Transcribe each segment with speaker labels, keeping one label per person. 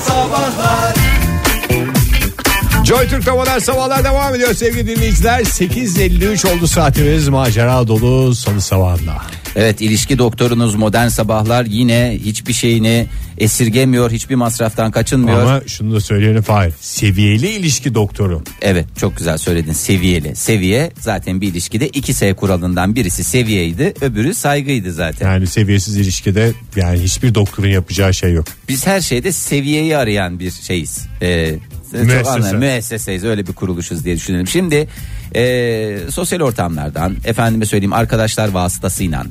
Speaker 1: Sabahlar
Speaker 2: Joy Türk'te modern sabahlar devam ediyor sevgili dinleyiciler. 8.53 oldu saatimiz macera dolu salı sabahında.
Speaker 3: Evet ilişki doktorunuz modern sabahlar yine hiçbir şeyini esirgemiyor hiçbir masraftan kaçınmıyor.
Speaker 2: Ama şunu da söyleyelim Fahir. Seviyeli ilişki doktoru.
Speaker 3: Evet çok güzel söyledin seviyeli. Seviye zaten bir ilişkide 2S kuralından birisi seviyeydi öbürü saygıydı zaten.
Speaker 2: Yani seviyesiz ilişkide yani hiçbir doktorun yapacağı şey yok.
Speaker 3: Biz her şeyde seviyeyi arayan bir şeyiz. Ee, çok
Speaker 2: Müessese.
Speaker 3: anlamlı- müesseseyiz öyle bir kuruluşuz diye düşünelim. Şimdi e, sosyal ortamlardan efendime söyleyeyim arkadaşlar vasıtasıyla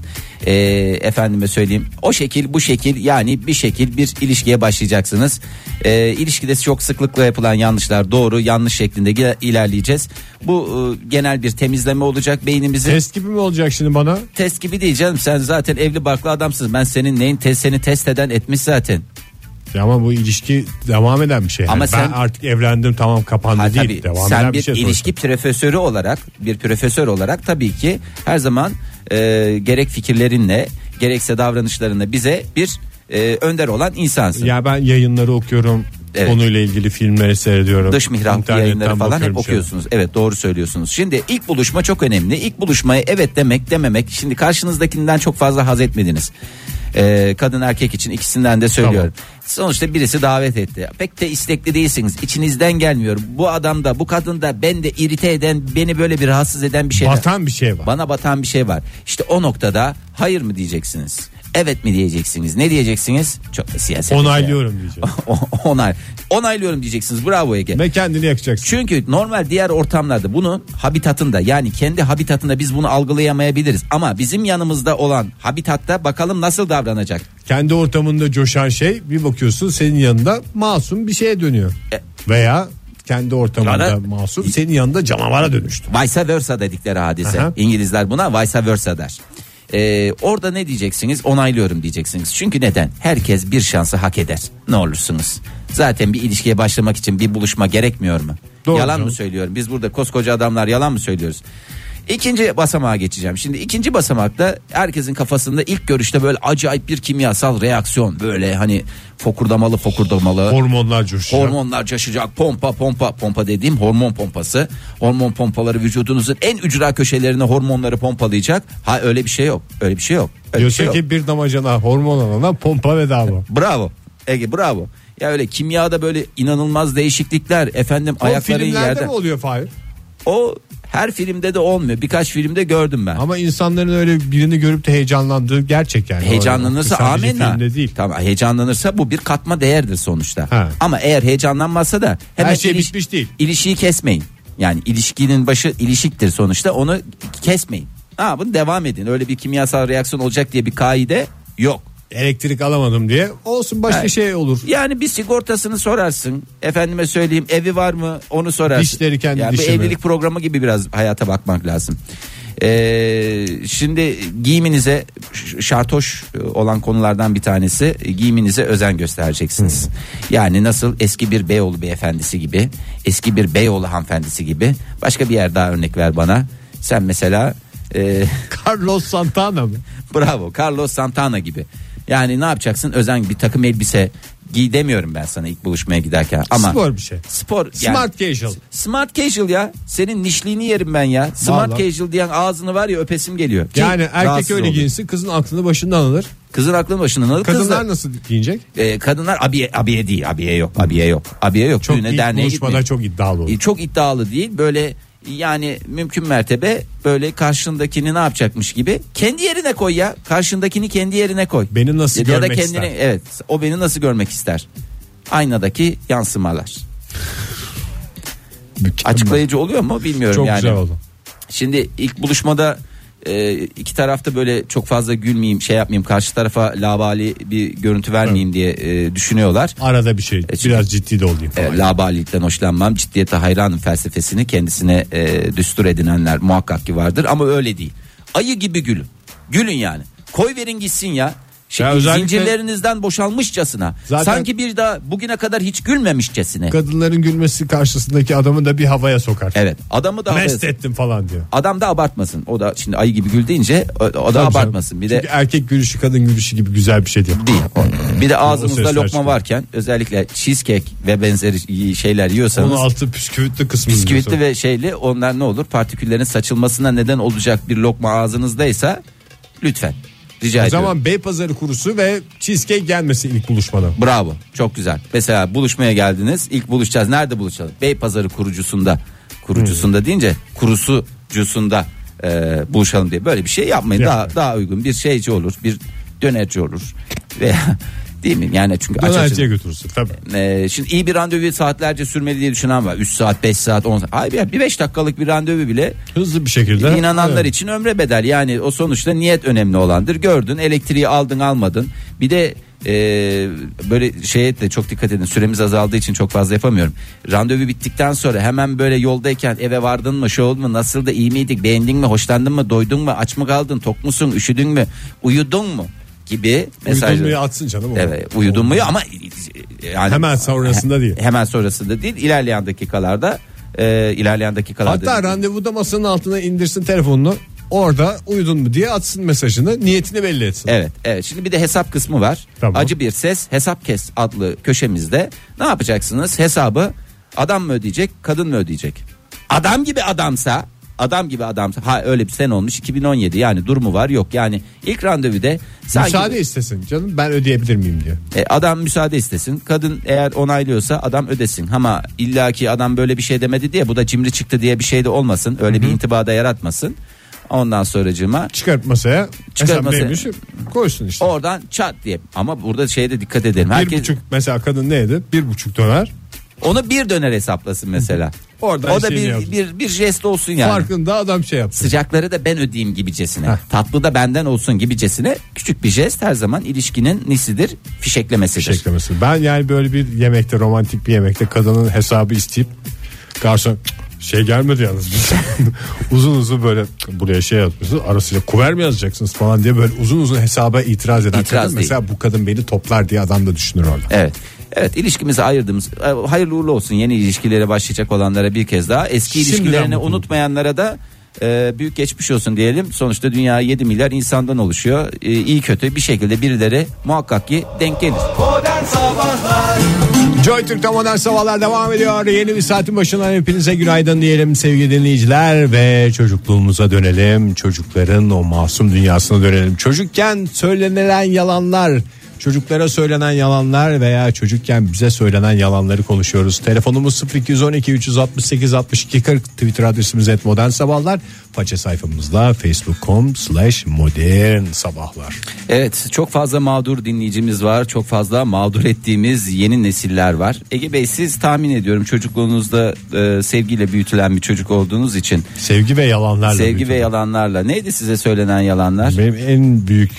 Speaker 3: e, efendime söyleyeyim o şekil bu şekil yani bir şekil bir ilişkiye başlayacaksınız. E, ilişkide çok sıklıkla yapılan yanlışlar doğru yanlış şeklinde gel- ilerleyeceğiz. Bu e, genel bir temizleme olacak beynimizin.
Speaker 2: Test gibi mi olacak şimdi bana?
Speaker 3: Test gibi değil canım sen zaten evli barklı adamsın ben senin neyin test, seni test eden etmiş zaten.
Speaker 2: Ya Ama bu ilişki devam eden bir şey. Yani
Speaker 3: Ama sen-
Speaker 2: ben artık evlendim tamam kapandı
Speaker 3: Ha,
Speaker 2: değil.
Speaker 3: tabii,
Speaker 2: devam
Speaker 3: sen
Speaker 2: eden bir,
Speaker 3: bir
Speaker 2: şey sonuçta.
Speaker 3: ilişki profesörü olarak bir profesör olarak tabii ki her zaman e, gerek fikirlerinle gerekse davranışlarınla bize bir e, önder olan insansın.
Speaker 2: Ya ben yayınları okuyorum.
Speaker 3: Evet.
Speaker 2: Konuyla ilgili filmleri seyrediyorum.
Speaker 3: Dış mihrap
Speaker 2: İnternetten
Speaker 3: yayınları falan
Speaker 2: bakıyorum
Speaker 3: hep
Speaker 2: bir şey.
Speaker 3: okuyorsunuz. Evet doğru söylüyorsunuz. Şimdi ilk buluşma çok önemli. İlk buluşmaya evet demek dememek. Şimdi karşınızdakinden çok fazla haz etmediniz. E, kadın erkek için ikisinden de söylüyorum. Sonuçta birisi davet etti. Pek de istekli değilsiniz. İçinizden gelmiyor. Bu adamda, bu kadında ben de irite eden, beni böyle bir rahatsız eden bir şey.
Speaker 2: Batan bir şey var.
Speaker 3: Bana batan bir şey var. İşte o noktada hayır mı diyeceksiniz? Evet mi diyeceksiniz? Ne diyeceksiniz? Çok da siyaset.
Speaker 2: Onaylıyorum diyeceğim.
Speaker 3: O- Onay. Onaylıyorum diyeceksiniz. Bravo Ege.
Speaker 2: Ve kendini yakacaksın.
Speaker 3: Çünkü normal diğer ortamlarda bunu habitatında yani kendi habitatında biz bunu algılayamayabiliriz. Ama bizim yanımızda olan habitatta bakalım nasıl davranacak.
Speaker 2: kendi ortamında coşan şey bir bakıyorsun senin yanında masum bir şeye dönüyor.
Speaker 3: E-
Speaker 2: Veya kendi ortamında
Speaker 3: Ara-
Speaker 2: masum senin yanında canavara dönüştü.
Speaker 3: Vice versa dedikleri hadise.
Speaker 2: Aha.
Speaker 3: İngilizler buna vice versa der. Ee, orada ne diyeceksiniz? Onaylıyorum diyeceksiniz. Çünkü neden? Herkes bir şansı hak eder. Ne olursunuz. Zaten bir ilişkiye başlamak için bir buluşma gerekmiyor mu?
Speaker 2: Doğru
Speaker 3: yalan
Speaker 2: canım.
Speaker 3: mı söylüyorum? Biz burada koskoca adamlar yalan mı söylüyoruz? İkinci basamağa geçeceğim. Şimdi ikinci basamakta herkesin kafasında ilk görüşte böyle acayip bir kimyasal reaksiyon. Böyle hani fokurdamalı fokurdamalı.
Speaker 2: Hormonlar coşuyor.
Speaker 3: Hormonlar coşacak. Pompa pompa pompa dediğim hormon pompası. Hormon pompaları vücudunuzun en ücra köşelerine hormonları pompalayacak. Ha öyle bir şey yok. Öyle bir şey yok. Öyle bir
Speaker 2: Diyorsun
Speaker 3: şey yok.
Speaker 2: ki bir damacana hormon alana pompa bedava.
Speaker 3: Bravo. Ege bravo. Ya öyle kimyada böyle inanılmaz değişiklikler efendim ayakların
Speaker 2: o filmlerde
Speaker 3: yerde.
Speaker 2: mi oluyor Fahir?
Speaker 3: O her filmde de olmuyor. Birkaç filmde gördüm ben.
Speaker 2: Ama insanların öyle birini görüp de heyecanlandığı gerçek yani.
Speaker 3: Heyecanlanırsa
Speaker 2: Sadece
Speaker 3: amenna.
Speaker 2: filmde değil.
Speaker 3: Tamam heyecanlanırsa bu bir katma değerdir sonuçta.
Speaker 2: Ha.
Speaker 3: Ama eğer heyecanlanmazsa da hemen
Speaker 2: Her şey
Speaker 3: iliş-
Speaker 2: bitmiş değil.
Speaker 3: İlişiyi kesmeyin. Yani ilişkinin başı ilişiktir sonuçta. Onu kesmeyin. Ne yapın? Devam edin. Öyle bir kimyasal reaksiyon olacak diye bir kaide yok.
Speaker 2: Elektrik alamadım diye. Olsun başka
Speaker 3: Ha.
Speaker 2: şey olur.
Speaker 3: Yani bir sigortasını sorarsın. Efendime söyleyeyim evi var mı onu sorarsın.
Speaker 2: Dişleri kendi
Speaker 3: yani
Speaker 2: dişi
Speaker 3: Bu
Speaker 2: mi?
Speaker 3: evlilik programı gibi biraz hayata bakmak lazım. Ee, şimdi giyiminize ş- şartoş olan konulardan bir tanesi giyiminize özen göstereceksiniz. Yani nasıl eski bir Beyoğlu beyefendisi gibi eski bir Beyoğlu hanımefendisi gibi başka bir yer daha örnek ver bana. Sen mesela e,
Speaker 2: Carlos Santana mı?
Speaker 3: Bravo Carlos Santana gibi. Yani ne yapacaksın? Özen bir takım elbise giy demiyorum ben sana ilk buluşmaya giderken. Ama
Speaker 2: Spor bir şey.
Speaker 3: Spor yani-
Speaker 2: Smart casual.
Speaker 3: Smart casual ya. Senin nişliğini yerim ben ya. Smart
Speaker 2: Vallahi.
Speaker 3: casual diyen ağzını var ya öpesim geliyor. Ki
Speaker 2: Yani erkek
Speaker 3: rahatsız
Speaker 2: öyle
Speaker 3: oldum.
Speaker 2: giyinsin kızın aklını başından alır.
Speaker 3: Kızın aklını başından alır.
Speaker 2: Kadınlar
Speaker 3: kızlar,
Speaker 2: nasıl giyinecek?
Speaker 3: e, kadınlar abiye, abiye değil. Abiye yok. Abiye yok. Abiye yok.
Speaker 2: Çok
Speaker 3: Düğüne,
Speaker 2: ilk
Speaker 3: derneğe
Speaker 2: buluşmada
Speaker 3: gitmiyor.
Speaker 2: çok iddialı olur.
Speaker 3: E, çok iddialı değil böyle yani mümkün mertebe böyle karşındakini ne yapacakmış gibi kendi yerine koy ya karşındakini kendi yerine koy.
Speaker 2: Beni nasıl
Speaker 3: ya, ya da
Speaker 2: görmek
Speaker 3: kendini,
Speaker 2: ister?
Speaker 3: Evet o beni nasıl görmek ister? Aynadaki yansımalar.
Speaker 2: Mükemmel.
Speaker 3: Açıklayıcı oluyor mu bilmiyorum
Speaker 2: Çok
Speaker 3: yani.
Speaker 2: güzel oldu.
Speaker 3: Şimdi ilk buluşmada e, iki tarafta böyle çok fazla gülmeyeyim şey yapmayayım karşı tarafa labali bir görüntü vermeyeyim diye e, düşünüyorlar.
Speaker 2: Arada bir şey
Speaker 3: çünkü-
Speaker 2: biraz ciddi de olayım.
Speaker 3: E, labalilikten hoşlanmam ciddiyete hayranım felsefesini kendisine e, düstur edinenler muhakkak ki vardır ama öyle değil. Ayı gibi gülün. Gülün yani. Koy verin gitsin ya. şey,
Speaker 2: Ya özellikle-
Speaker 3: zincirlerinizden boşalmışçasına.
Speaker 2: Zaten-
Speaker 3: sanki bir daha bugüne kadar hiç gülmemişçesine.
Speaker 2: Kadınların gülmesi karşısındaki adamı da bir havaya sokar.
Speaker 3: Evet adamı da
Speaker 2: Mest ettim falan diyor.
Speaker 3: adam da abartmasın. O da şimdi ayı gibi gül deyince o, o da
Speaker 2: Tabii canım.
Speaker 3: abartmasın. Bir de
Speaker 2: Çünkü er- erkek gülüşü kadın gülüşü gibi güzel bir şey değil.
Speaker 3: değil. Bir de
Speaker 2: O
Speaker 3: ağzımızda
Speaker 2: sesler
Speaker 3: lokma
Speaker 2: çıkıyor.
Speaker 3: varken özellikle cheesecake ve benzeri y- şeyler
Speaker 2: Onun
Speaker 3: yiyorsanız
Speaker 2: altı püsküvütlü kısmı.
Speaker 3: bisküvitli
Speaker 2: diyorsun.
Speaker 3: ve şeyli onlar ne olur? Partiküllerin saçılmasına neden olacak bir lokma ağzınızdaysa lütfen rica
Speaker 2: O
Speaker 3: ediyorum.
Speaker 2: zaman Beypazarı kurusu ve cheesecake gelmesi ilk buluşmada.
Speaker 3: Bravo. Çok güzel. Mesela buluşmaya geldiniz. İlk buluşacağız. Nerede buluşalım? Beypazarı kurucusunda. Kurucusunda deyince kurusucusunda e, buluşalım diye. Böyle bir şey yapmayın.
Speaker 2: Yapmayın.
Speaker 3: Daha daha uygun bir şeyci olur. Bir dönerci olur. Veya değil mi? Yani çünkü aç açın-
Speaker 2: Dönerciye götürürsün tabii.
Speaker 3: E, şimdi iyi bir randevu saatlerce sürmeli diye düşünen var. 3 saat, 5 saat, 10 saat. Ay bir 5 dakikalık bir randevu bile
Speaker 2: Hızlı bir şekilde.
Speaker 3: İnananlar
Speaker 2: Evet.
Speaker 3: için ömre bedel yani o sonuçta niyet önemli olandır. Gördün elektriği aldın almadın. Bir de e, böyle şeye de çok dikkat edin süremiz azaldığı için çok fazla yapamıyorum. Randevu bittikten sonra hemen böyle yoldayken eve vardın mı şey oldu mu nasıl da iyi miydik beğendin mi hoşlandın mı doydun mu aç mı kaldın tok musun üşüdün mü uyudun mu gibi
Speaker 2: Uyudun
Speaker 3: mesajlar.
Speaker 2: mu atsın canım. onu.
Speaker 3: Evet uyudun mu ama yani
Speaker 2: Hemen sonrasında değil.
Speaker 3: Hemen sonrasında değil ilerleyen dakikalarda e, ilerleyen dakikalarda.
Speaker 2: Hatta randevuda masanın altına indirsin telefonunu. Orada uyudun mu diye atsın mesajını. Niyetini belli etsin.
Speaker 3: Evet, evet. Şimdi bir de hesap kısmı var.
Speaker 2: Tamam.
Speaker 3: Acı bir ses hesap kes adlı köşemizde ne yapacaksınız? Hesabı adam mı ödeyecek, kadın mı ödeyecek? Adam gibi adamsa, adam gibi adamsa ha öyle bir sene olmuş 2017 yani durumu var yok yani ilk randevuda sanki
Speaker 2: Müsaade istesin canım ben ödeyebilir miyim diye.
Speaker 3: E, adam müsaade istesin. Kadın eğer onaylıyorsa adam ödesin. Ama illaki adam böyle bir şey demedi diye bu da cimri çıktı diye bir şey de olmasın. Öyle bir intibada yaratmasın. Ondan sonracığıma
Speaker 2: Çıkarıp masaya.
Speaker 3: Çıkarıp
Speaker 2: hesap
Speaker 3: masaya.
Speaker 2: neymiş koysun işte.
Speaker 3: oradan çat diye. Ama burada şeye de dikkat edelim.
Speaker 2: Bir
Speaker 3: Herkes
Speaker 2: buçuk mesela kadın neydi? Bir buçuk döner.
Speaker 3: Onu bir döner hesaplasın mesela.
Speaker 2: Oradan
Speaker 3: o da
Speaker 2: şeyini
Speaker 3: bir,
Speaker 2: yapsın.
Speaker 3: bir bir jest olsun yani.
Speaker 2: Farkında adam şey yapsın.
Speaker 3: Sıcakları da ben ödeyeyim gibicesine.
Speaker 2: Heh.
Speaker 3: Tatlı da benden olsun gibicesine. Küçük bir jest her zaman ilişkinin nisidir? Fişeklemesidir.
Speaker 2: Şeklemesi. Ben yani böyle bir yemekte romantik bir yemekte kadının hesabı isteyip garson "Cık, şey gelmedi yalnız biz. uzun uzun böyle "Cık, buraya şey yazmışsınız arasıyla kuver mi yazacaksınız falan diye böyle uzun uzun hesaba itiraz eden
Speaker 3: İtiraz
Speaker 2: kadın
Speaker 3: değil.
Speaker 2: mesela bu kadın beni toplar diye adam da düşünür orada.
Speaker 3: Evet. Evet ilişkimizi ayırdığımız e, hayırlı uğurlu olsun yeni ilişkilere başlayacak olanlara bir kez daha eski
Speaker 2: Şimdiden
Speaker 3: ilişkilerini
Speaker 2: mutluluk.
Speaker 3: unutmayanlara da e, büyük geçmiş olsun diyelim. Sonuçta dünya 7 milyar insandan oluşuyor. E, iyi kötü bir şekilde birileri muhakkak ki denk gelir.
Speaker 2: Joy Türk'te modern sabahlar devam ediyor. Yeni bir saatin başından hepinize günaydın diyelim sevgili dinleyiciler ve çocukluğumuza dönelim. Çocukların o masum dünyasına dönelim. Çocukken söylenilen yalanlar, çocuklara söylenen yalanlar veya çocukken bize söylenen yalanları konuşuyoruz. Telefonumuz 0212 368 62 40 Twitter adresimiz et modern sabahlar. Faça sayfamızda facebook.com slash modern sabahlar.
Speaker 3: Evet çok fazla mağdur dinleyicimiz var çok fazla mağdur ettiğimiz yeni nesiller var. Ege Bey siz tahmin ediyorum çocukluğunuzda e, sevgiyle büyütülen bir çocuk olduğunuz için
Speaker 2: Sevgi ve yalanlarla.
Speaker 3: sevgi
Speaker 2: büyütüldük.
Speaker 3: ve yalanlarla neydi size söylenen yalanlar?
Speaker 2: Benim en büyük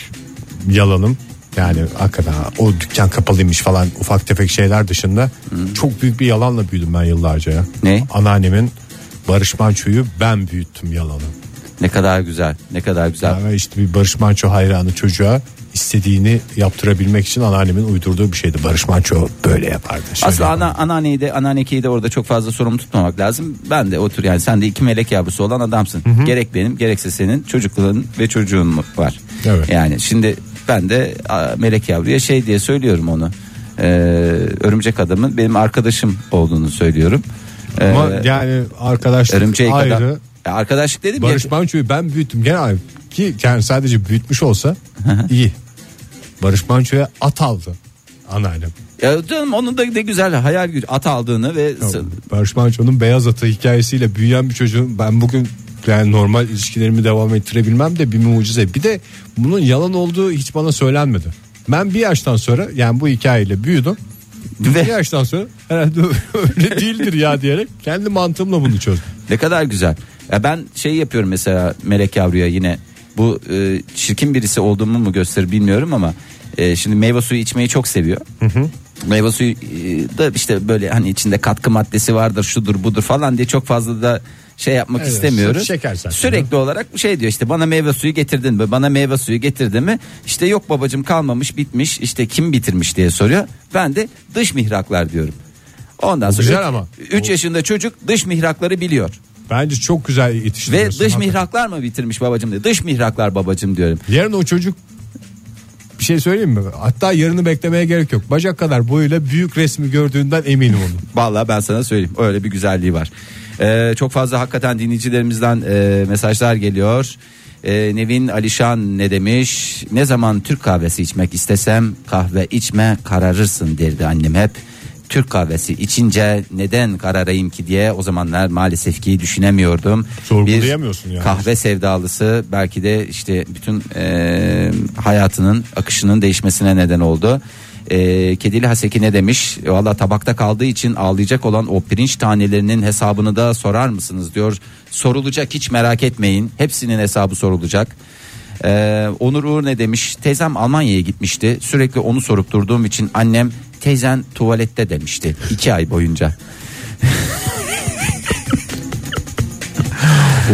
Speaker 2: yalanım yani hakikaten o dükkan kapalıymış falan ufak tefek şeyler dışında çok büyük bir yalanla büyüdüm ben yıllarca ya.
Speaker 3: Ne?
Speaker 2: Anneannemin Barış Manço'yu ben büyüttüm yalanı.
Speaker 3: Ne kadar güzel ne kadar güzel.
Speaker 2: Yani işte bir Barış Manço hayranı çocuğa istediğini yaptırabilmek için anneannemin uydurduğu bir şeydi. Barış Manço böyle yapardı. şöyle
Speaker 3: Aslında
Speaker 2: yapardı.
Speaker 3: ana, ananeyi de ananekeyi de orada çok fazla sorumlu tutmamak lazım. Ben de otur yani sen de iki melek yavrusu olan adamsın. Gerek benim gerekse senin çocukluğun ve çocuğun mu- var.
Speaker 2: Evet.
Speaker 3: Yani şimdi ben de a, melek yavruya şey diye söylüyorum onu. Ee, örümcek adamın benim arkadaşım olduğunu söylüyorum. Ee,
Speaker 2: Ama yani arkadaşlık
Speaker 3: örümcek
Speaker 2: ayrı.
Speaker 3: adam. Ya arkadaşlık dedim
Speaker 2: Barış
Speaker 3: ya.
Speaker 2: Manço'yu ben büyüttüm gene abi. Ki yani sadece büyütmüş olsa iyi. Barış Manço'ya at aldı anneannem.
Speaker 3: ya. canım onun da, da güzel hayal gücü at aldığını ve s-
Speaker 2: Barış Manço'nun beyaz atı hikayesiyle büyüyen bir çocuğun ben bugün yani normal ilişkilerimi devam ettirebilmem de bir mucize. Bir de bunun yalan olduğu hiç bana söylenmedi. Ben bir yaştan sonra yani bu hikayeyle büyüdüm.
Speaker 3: Ve-
Speaker 2: Bir yaştan sonra herhalde öyle değildir ya diyerek kendi mantığımla bunu çözdüm.
Speaker 3: Ne kadar güzel. Ya ben şey yapıyorum mesela Melek Yavru'ya yine bu e, çirkin birisi olduğumu mu gösterir bilmiyorum ama e, şimdi meyve suyu içmeyi çok seviyor. Meyve suyu e, da işte böyle hani içinde katkı maddesi vardır şudur budur falan diye çok fazla da şey yapmak
Speaker 2: Evet,
Speaker 3: istemiyoruz.
Speaker 2: şeker zaten.
Speaker 3: Sürekli olarak şey diyor işte bana meyve suyu getirdin mi? Bana meyve suyu getirdin mi? İşte yok babacım kalmamış bitmiş işte kim bitirmiş diye soruyor. Ben de dış mihraklar diyorum. Ondan sonra
Speaker 2: güzel ama.
Speaker 3: 3 yaşında çocuk dış mihrakları biliyor.
Speaker 2: Bence çok güzel
Speaker 3: Ve
Speaker 2: yetiştiriyorsun.
Speaker 3: dış
Speaker 2: hakikaten.
Speaker 3: mihraklar mı bitirmiş babacım diyor. Dış mihraklar babacım diyorum.
Speaker 2: Yarın o çocuk bir şey söyleyeyim mi? Hatta yarını beklemeye gerek yok. Bacak kadar boyuyla büyük resmi gördüğünden eminim onun.
Speaker 3: Vallahi ben sana söyleyeyim öyle bir güzelliği var. Ee, çok fazla hakikaten dinleyicilerimizden e, mesajlar geliyor. Ee, Nevin Alişan ne demiş? Ne zaman Türk kahvesi içmek istesem kahve içme kararırsın derdi annem hep. Türk kahvesi içince neden kararayım ki diye o zamanlar maalesef ki düşünemiyordum.
Speaker 2: Sorgulayamıyorsun yani.
Speaker 3: Kahve sevdalısı belki de işte bütün e, hayatının akışının değişmesine neden oldu. E, Kedili Haseki ne demiş? Valla tabakta kaldığı için ağlayacak olan o pirinç tanelerinin hesabını da sorar mısınız diyor. Sorulacak hiç merak etmeyin. Hepsinin hesabı sorulacak. E, Onur Uğur ne demiş? Teyzem Almanya'ya gitmişti. Sürekli onu sorup durduğum için annem teyzen tuvalette demişti. iki ay boyunca.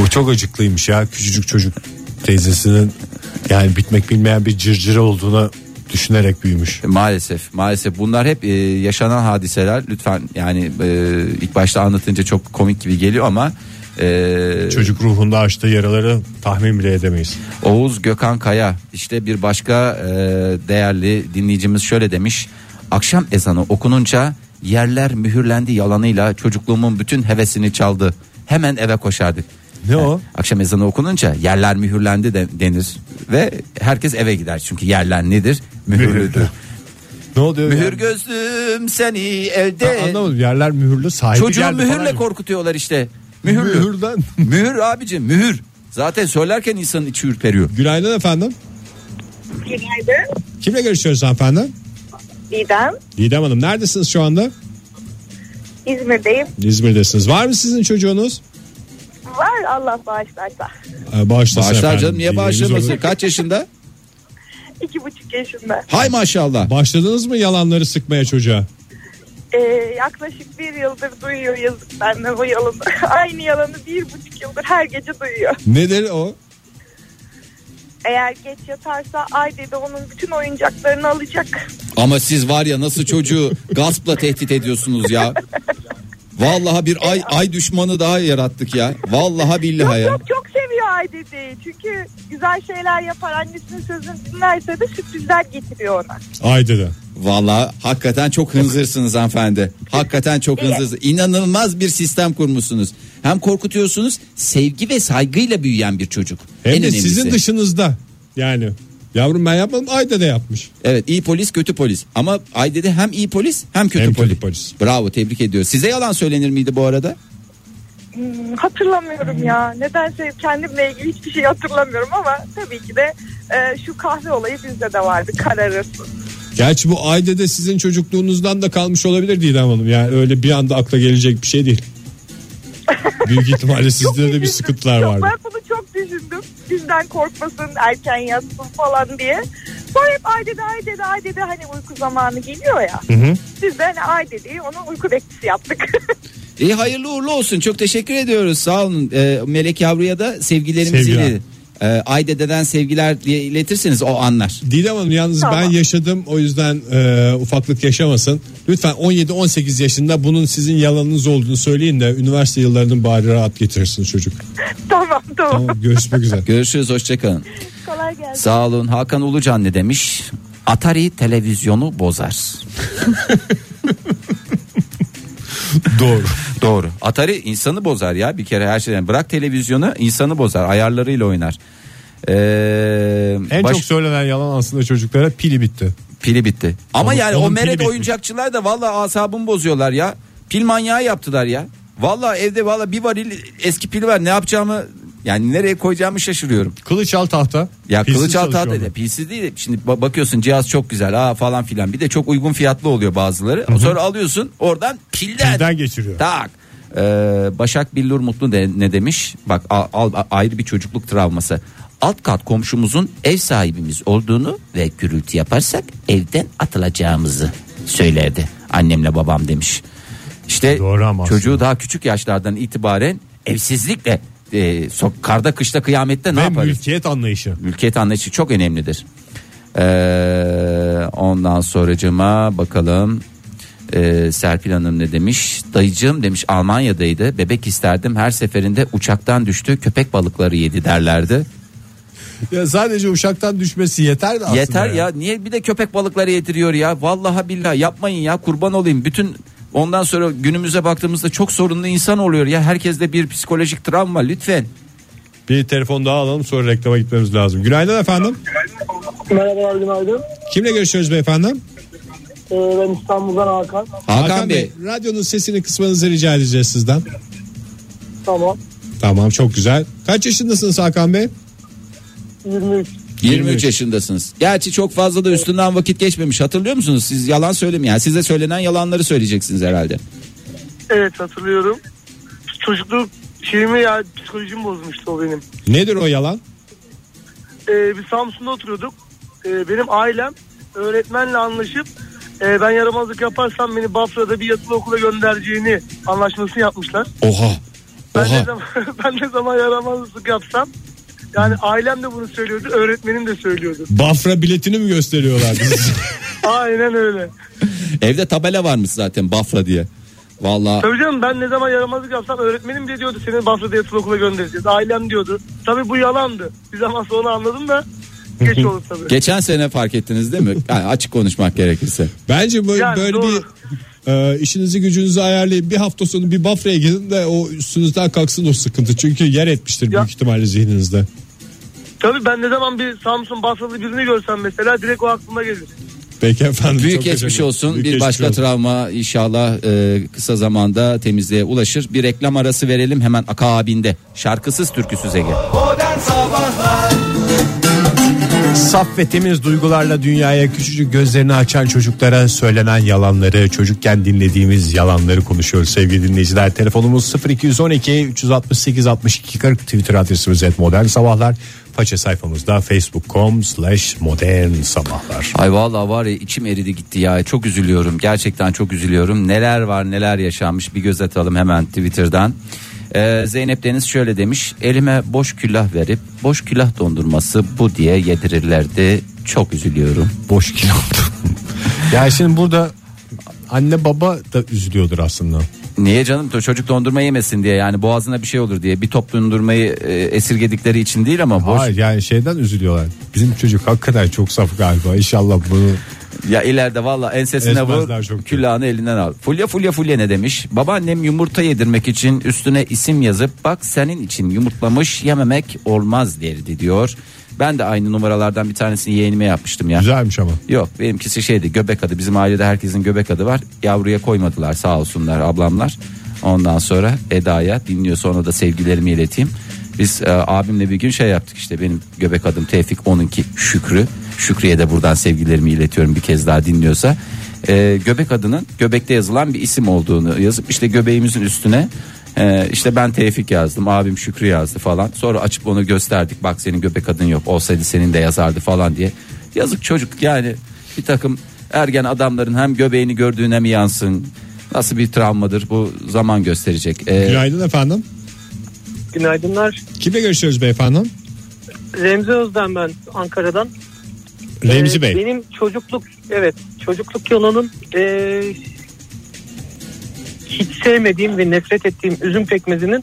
Speaker 2: O çok acıklıymış ya küçücük çocuk teyzesinin yani bitmek bilmeyen bir cırcırı olduğunu düşünerek büyümüş.
Speaker 3: E, Maalesef maalesef bunlar hep e, yaşanan hadiseler lütfen yani e, ilk başta anlatınca çok komik gibi geliyor ama e,
Speaker 2: Çocuk ruhunda açtığı yaraları tahmin bile edemeyiz.
Speaker 3: Oğuz Gökhan Kaya işte bir başka e, değerli dinleyicimiz şöyle demiş akşam ezanı okununca yerler mühürlendi yalanıyla çocukluğumun bütün hevesini çaldı hemen eve koşardık.
Speaker 2: Ne o?
Speaker 3: Akşam ezanı okununca yerler mühürlendi de, denir ve herkes eve gider çünkü yerler nedir? Mühürlüdür.
Speaker 2: Ne oluyor?
Speaker 3: Mühür
Speaker 2: yani?
Speaker 3: gözlüm seni
Speaker 2: Ben
Speaker 3: elde.
Speaker 2: anlamadım yerler mühürlü sahibi
Speaker 3: Çocuğu
Speaker 2: geldi falan
Speaker 3: mühürle
Speaker 2: gibi.
Speaker 3: korkutuyorlar işte. Mühürlü.
Speaker 2: Mühürden.
Speaker 3: Mühür abicim mühür. Zaten söylerken insanın içi ürperiyor.
Speaker 2: Günaydın efendim.
Speaker 1: Günaydın.
Speaker 2: Kimle görüşüyoruz efendim?
Speaker 1: İdem.
Speaker 2: Didem Hanım neredesiniz şu anda?
Speaker 1: İzmir'deyim.
Speaker 2: İzmir'desiniz. Var mı sizin çocuğunuz?
Speaker 1: Var Allah bağışlarsa.
Speaker 2: Ee, Bağışlasın
Speaker 3: Bağışlar
Speaker 2: efendim.
Speaker 3: canım niye
Speaker 2: Bilginiz
Speaker 3: bağışlamasın?
Speaker 2: olur.
Speaker 3: Kaç yaşında?
Speaker 1: İki buçuk yaşında.
Speaker 3: Hay maşallah.
Speaker 2: Başladınız mı yalanları sıkmaya çocuğa?
Speaker 1: Ee, yaklaşık bir yıldır duyuyor yazık benden bu yalanı. Aynı yalanı bir buçuk yıldır her gece duyuyor.
Speaker 2: Nedir o?
Speaker 1: Eğer geç yatarsa ay dedi onun bütün oyuncaklarını alacak.
Speaker 3: Ama siz var ya nasıl çocuğu gaspla tehdit ediyorsunuz ya. Vallahi bir ay ay düşmanı daha yarattık ya. Vallahi billahi
Speaker 1: Yok çok seviyor ay dedi. Çünkü güzel şeyler yapar annesinin sözünü dinlerse de sürprizler getiriyor ona.
Speaker 2: Ay dedi.
Speaker 3: Valla hakikaten çok hınzırsınız hanımefendi. Hakikaten çok
Speaker 1: Evet.
Speaker 3: hınzırsınız. İnanılmaz bir sistem kurmuşsunuz. Hem korkutuyorsunuz sevgi ve saygıyla büyüyen bir çocuk.
Speaker 2: Hem
Speaker 3: en
Speaker 2: de
Speaker 3: önemlisi.
Speaker 2: sizin dışınızda. Yani yavrum ben yapmadım ay dede yapmış.
Speaker 3: Evet iyi polis kötü polis. Ama ay dedi hem iyi polis hem kötü
Speaker 2: Hem
Speaker 3: polis.
Speaker 2: kötü polis.
Speaker 3: Bravo tebrik ediyor. Size yalan söylenir miydi bu arada?
Speaker 1: Hmm, hatırlamıyorum ya. Nedense kendimle ilgili hiçbir şey hatırlamıyorum ama tabii ki de e, şu kahve olayı bizde de vardı kararırsın.
Speaker 2: Gerçi bu ay dede sizin çocukluğunuzdan da kalmış olabilir Didem Hanım. Yani öyle bir anda akla gelecek bir şey değil. Büyük ihtimalle sizde de bir
Speaker 1: Üzüldüm.
Speaker 2: sıkıntılar
Speaker 1: Çok-
Speaker 2: vardı.
Speaker 1: Ben bunu çok düşündüm. Bizden korkmasın, erken yatsın falan diye. Sonra hep ay dedi, ay dedi, ay dedi. Hani uyku zamanı geliyor ya. Biz de hani ay dedi, onu uyku bekçisi yaptık.
Speaker 3: İyi hayırlı uğurlu olsun. Çok teşekkür ediyoruz. Sağ olun. Ee, Melek Yavru'ya da sevgilerimizi
Speaker 2: Sevgiler.
Speaker 3: iletin. Ee, ay dededen sevgiler diye iletirseniz o anlar.
Speaker 2: Didem Hanım yalnız
Speaker 1: Tamam.
Speaker 2: ben yaşadım o yüzden e, ufaklık yaşamasın. Lütfen 17-18 yaşında bunun sizin yalanınız olduğunu söyleyin de üniversite yıllarının bari rahat getirsin çocuk.
Speaker 1: tamam, tamam,
Speaker 2: Tamam görüşmek üzere.
Speaker 3: Görüşürüz hoşçakalın.
Speaker 1: Kolay gelsin.
Speaker 3: Sağ olun Hakan Ulucan ne demiş? Atari televizyonu bozar.
Speaker 2: Doğru.
Speaker 3: Doğru. Atari insanı bozar ya bir kere her şeyden. Bırak televizyonu insanı bozar ayarlarıyla oynar. Ee,
Speaker 2: En
Speaker 3: baş-
Speaker 2: çok söylenen yalan aslında çocuklara pili bitti.
Speaker 3: pili bitti. Ama
Speaker 2: Onun-
Speaker 3: yani o
Speaker 2: onun pili
Speaker 3: meret
Speaker 2: bitmiş.
Speaker 3: oyuncakçılar da vallahi asabımı bozuyorlar ya. Pil manyağı yaptılar ya. Vallahi evde vallahi bir varil eski pil var. Ne yapacağımı yani nereye koyacağımı şaşırıyorum.
Speaker 2: Kılıç al tahta.
Speaker 3: Ya
Speaker 2: Pilsiz
Speaker 3: kılıç altı
Speaker 2: çalışıyor
Speaker 3: adı
Speaker 2: onlar.
Speaker 3: da pilsiz değil. de Şimdi ba- bakıyorsun cihaz çok güzel aa falan filan. Bir de çok uygun fiyatlı oluyor bazıları. Sonra alıyorsun oradan pilden.
Speaker 2: Pilden geçiriyor.
Speaker 3: Tak. Ee, Başak Billur Mutlu de, ne demiş? Bak al, al- a- ayrı bir çocukluk travması. Alt kat komşumuzun ev sahibimiz olduğunu ve gürültü yaparsak evden atılacağımızı söylerdi. Annemle babam demiş. İşte
Speaker 2: Doğru ama
Speaker 3: çocuğu
Speaker 2: aslında.
Speaker 3: daha küçük yaşlardan itibaren evsizlikle e, sok- karda kışta kıyamette ne
Speaker 2: Ve
Speaker 3: yaparız?
Speaker 2: mülkiyet anlayışı.
Speaker 3: mülkiyet anlayışı çok önemlidir. Ee, ondan sonracıma bakalım. Ee, Serpil Hanım ne demiş? Dayıcığım demiş Almanya'daydı. Bebek isterdim. Her seferinde uçaktan düştü. Köpek balıkları yedi derlerdi.
Speaker 2: Ya sadece uçaktan düşmesi yeter de aslında.
Speaker 3: Yeter ya. Niye bir de köpek balıkları yediriyor ya? Vallahi billahi yapmayın ya. Kurban olayım. Bütün ondan sonra günümüze baktığımızda çok sorunlu insan oluyor ya. Herkeste bir psikolojik travma lütfen.
Speaker 2: Bir telefon daha alalım sonra reklama gitmemiz lazım. Günaydın efendim.
Speaker 4: Merhabalar günaydın.
Speaker 2: Kimle görüşüyoruz beyefendi?
Speaker 4: Ee, ben İstanbul'dan Hakan.
Speaker 3: Hakan Bey.
Speaker 2: Radyonun sesini kısmanızı rica edeceğiz sizden.
Speaker 4: Tamam.
Speaker 2: Tamam çok güzel. Kaç yaşındasınız Hakan Bey?
Speaker 4: 23.
Speaker 3: 23 yaşındasınız. Gerçi çok fazla da üstünden vakit geçmemiş. Hatırlıyor musunuz? Siz yalan söylemeyin. Yani size söylenen yalanları söyleyeceksiniz herhalde.
Speaker 4: Evet hatırlıyorum. Çocukluk şeyimi ya psikolojim bozmuştu o benim.
Speaker 2: Nedir o yalan?
Speaker 4: Ee, biz Samsun'da oturuyorduk. Ee, benim ailem öğretmenle anlaşıp e, ben yaramazlık yaparsam beni Bafra'da bir yatılı okula göndereceğini anlaşmasını yapmışlar.
Speaker 3: Oha.
Speaker 4: Ben ne zaman, ben ne zaman yaramazlık yapsam yani ailem de bunu söylüyordu, öğretmenim de söylüyordu.
Speaker 2: Bafra biletini mi gösteriyorlar size?
Speaker 4: Aynen öyle.
Speaker 3: Evde tabela varmış zaten Bafra diye. Vallahi
Speaker 4: Tabii canım ben ne zaman yaramazlık yapsam öğretmenim de diyordu seni Bafra'da yatılı okula göndereceğiz. Ailem diyordu. Tabii bu yalandı. Bir zaman sonra anladım da geç oldu tabii.
Speaker 3: geçen sene fark ettiniz değil mi? Yani açık konuşmak gerekirse.
Speaker 2: Bence böyle,
Speaker 4: Yani
Speaker 2: böyle
Speaker 4: doğru.
Speaker 2: bir e, işinizi gücünüzü ayarlayıp bir hafta sonu bir Bafra'ya gidin de o üstünüzden kalksın o sıkıntı. Çünkü yer etmiştir
Speaker 4: Ya.
Speaker 2: büyük ihtimalle zihninizde.
Speaker 4: Tabii ben ne zaman bir Samsun Bafra'lı birini görsem mesela direkt o aklıma gelir.
Speaker 2: Peki efendim.
Speaker 3: Büyük
Speaker 2: çok
Speaker 3: geçmiş
Speaker 2: teşekkür-
Speaker 3: olsun.
Speaker 2: Büyük
Speaker 3: bir
Speaker 2: geçmiş
Speaker 3: başka
Speaker 2: olsun.
Speaker 3: travma inşallah e, kısa zamanda temizliğe ulaşır. Bir reklam arası verelim hemen akabinde. Şarkısız türküsüz Ege.
Speaker 2: Saf ve temiz duygularla dünyaya küçücük gözlerini açan çocuklara söylenen yalanları, çocukken dinlediğimiz yalanları konuşuyoruz sevgili dinleyiciler. Telefonumuz 0212 368 62 40 Twitter adresimiz et modern sabahlar. Faça sayfamızda facebook.com slash modern sabahlar.
Speaker 3: Ay vallahi var ya içim eridi gitti ya. Çok üzülüyorum. Gerçekten çok üzülüyorum. Neler var neler yaşanmış bir göz atalım hemen Twitter'dan. Ee, Zeynep Deniz şöyle demiş. Elime boş külah verip boş külah dondurması bu diye yedirirlerdi. Çok üzülüyorum.
Speaker 2: Boş kilo. ya şimdi burada anne baba da üzülüyordur aslında.
Speaker 3: Niye canım çocuk dondurma yemesin diye yani boğazına bir şey olur diye bir top dondurmayı e, esirgedikleri için değil ama boş
Speaker 2: Hayır yani şeyden üzülüyorlar. Bizim çocuk hakikaten çok saf galiba. İnşallah bunu
Speaker 3: Ya ileride valla ensesine
Speaker 2: Ezmezler
Speaker 3: vur
Speaker 2: çok.
Speaker 3: külahını elinden al. Fulya fulya fulya ne demiş? Babaannem yumurta yedirmek için üstüne isim yazıp bak senin için yumurtlamış yememek olmaz derdi diyor. Ben de aynı numaralardan bir tanesini yeğenime yapmıştım ya.
Speaker 2: güzelmiş ama.
Speaker 3: Yok benimkisi şeydi göbek adı bizim ailede herkesin göbek adı var. Yavruya koymadılar sağ olsunlar ablamlar. Ondan sonra Eda'ya dinliyor sonra da sevgilerimi ileteyim. Biz e, abimle bir gün şey yaptık işte benim göbek adım Tevfik onunki Şükrü. Şükrü'ye de buradan sevgilerimi iletiyorum bir kez daha dinliyorsa. E, göbek adının göbekte yazılan bir isim olduğunu yazıp işte göbeğimizin üstüne e, işte ben Tevfik yazdım abim Şükrü yazdı falan. Sonra açıp onu gösterdik bak senin göbek adın yok olsaydı senin de yazardı falan diye. Yazık çocuk yani bir takım ergen adamların hem göbeğini gördüğüne mi yansın? Nasıl bir travmadır bu zaman gösterecek. Ee,
Speaker 2: Günaydın efendim.
Speaker 4: Günaydınlar.
Speaker 2: Kimle görüşüyoruz beyefendim?
Speaker 4: Remzi Özden ben Ankara'dan.
Speaker 2: Remzi
Speaker 4: Ee,
Speaker 2: Bey.
Speaker 4: Benim çocukluk evet çocukluk yalanım ee, hiç sevmediğim ve nefret ettiğim üzüm pekmezinin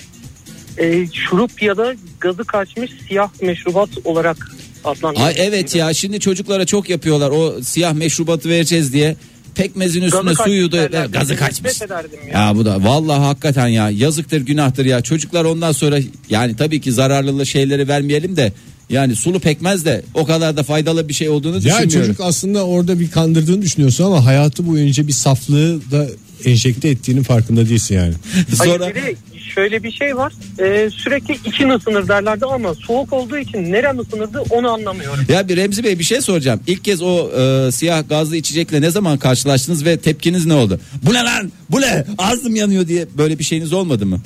Speaker 4: ee, şurup ya da gazı kaçmış siyah meşrubat olarak adlandırılıyor.
Speaker 3: Ay evet ya şimdi çocuklara çok yapıyorlar o siyah meşrubatı vereceğiz diye pekmezin üstüne
Speaker 4: kaçmış
Speaker 3: suyu da
Speaker 4: derler.
Speaker 3: gazı
Speaker 4: Nefret
Speaker 3: kaçmış.
Speaker 4: ederdim ya.
Speaker 3: Ya bu da vallahi hakikaten ya yazıktır günahtır ya çocuklar ondan sonra yani tabii ki zararlı şeyleri vermeyelim de yani sulu pekmez de o kadar da faydalı bir şey olduğunu
Speaker 2: Ya
Speaker 3: düşünmüyorum.
Speaker 2: çocuk aslında orada bir kandırdığını düşünüyorsun ama hayatı boyunca bir saflığı da enjekte ettiğinin farkında değilsin yani.
Speaker 3: sonra
Speaker 4: Hayır, bir de şöyle bir şey var. Ee, sürekli için ısınır derlerdi ama soğuk olduğu için neren ısınırdı onu anlamıyorum.
Speaker 3: Ya bir Remzi Bey bir şey soracağım. İlk kez o e, siyah gazlı içecekle ne zaman karşılaştınız ve tepkiniz ne oldu? Bu ne lan? Bu ne? Ağzım yanıyor diye böyle bir şeyiniz olmadı mı?